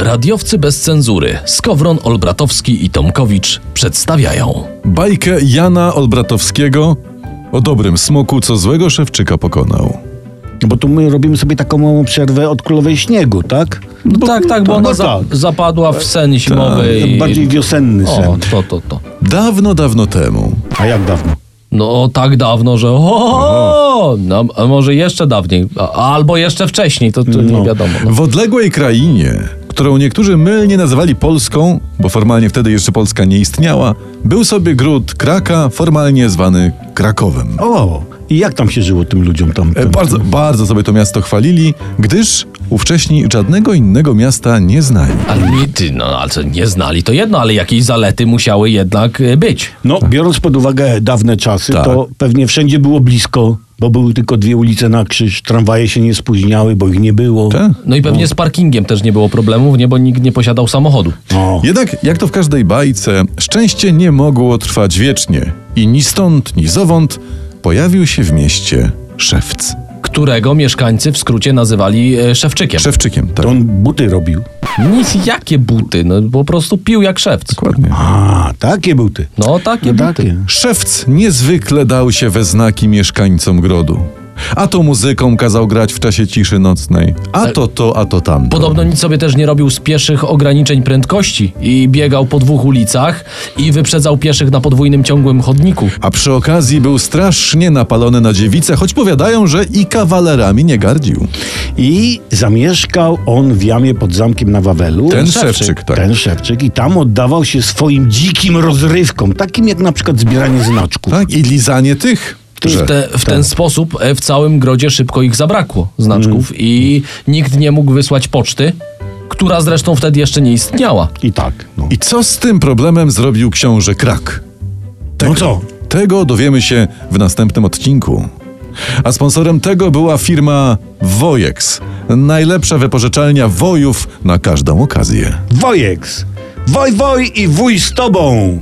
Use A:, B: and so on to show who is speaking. A: Radiowcy bez cenzury, Skowron Olbratowski i Tomkowicz przedstawiają.
B: Bajkę Jana Olbratowskiego o dobrym smoku, co złego Szewczyka pokonał.
C: Bo tu my robimy sobie taką małą przerwę od królowej śniegu, tak?
A: tak, tak, bo ona
C: no
A: za,
C: tak.
A: zapadła w sen zimowy i...
C: Bardziej wiosenny
A: O,
C: sen.
A: to, to, to.
B: Dawno, dawno temu
C: A jak dawno?
A: No tak dawno, że o, no, a może jeszcze dawniej, a, albo jeszcze wcześniej, to, to nie wiadomo. No.
B: w odległej krainie, którą niektórzy mylnie nazywali Polską, bo formalnie wtedy jeszcze Polska nie istniała, był sobie gród Kraka, formalnie zwany Krakowem.
C: O, i jak tam się żyło tym ludziom tam?
B: E,
C: tam-
B: Bardzo, bardzo sobie to miasto chwalili, gdyż ówcześni żadnego innego miasta nie znali.
A: Ale nie, ty, no, ale nie znali to jedno, ale jakieś zalety musiały jednak y, być.
C: No, biorąc pod uwagę dawne czasy,
B: Tak.
C: to pewnie wszędzie było blisko, bo były tylko dwie ulice na krzyż, tramwaje się nie spóźniały, bo ich nie było.
B: Tak?
A: No i pewnie z parkingiem też nie było problemów, nie, bo nikt nie posiadał samochodu.
C: O,
B: Jednak, jak to w każdej bajce, szczęście nie mogło trwać wiecznie i ni stąd, ni zowąd pojawił się w mieście szewc.
A: Którego mieszkańcy w skrócie nazywali e, Szewczykiem.
B: Szewczykiem, tak.
C: to on buty robił.
A: Nic, jakie buty, no po prostu pił jak szewc.
B: Dokładnie.
C: A, takie buty.
A: No takie buty.
C: Takie.
B: Szewc niezwykle dał się we znaki mieszkańcom grodu. A to muzyką kazał grać w czasie ciszy nocnej, a to to, a to tam.
A: Podobno nic sobie też nie robił z pieszych ograniczeń prędkości i biegał po dwóch ulicach i wyprzedzał pieszych na podwójnym ciągłym chodniku.
B: A przy okazji był strasznie napalony na dziewice, choć powiadają, że i kawalerami nie gardził.
C: I zamieszkał on w jamie pod zamkiem na Wawelu.
B: Ten
A: Szewczyk.
B: szewczyk, tak.
C: Ten Szewczyk i tam oddawał się swoim dzikim rozrywkom, takim jak na przykład zbieranie znaczków.
B: Tak, i lizanie tych.
A: I
B: że-
A: w, te, w ten sposób e, w całym grodzie szybko ich zabrakło, znaczków, i nikt nie mógł wysłać poczty, która zresztą wtedy jeszcze nie istniała.
C: I tak. No.
B: I co z tym problemem zrobił książę Krak?
C: No
B: Tak.
C: co?
B: Tego dowiemy się w następnym odcinku. A sponsorem tego była firma Wojex. Najlepsza wypożyczalnia wojów na każdą okazję.
C: Wojeks! Woj, woj i wuj z tobą!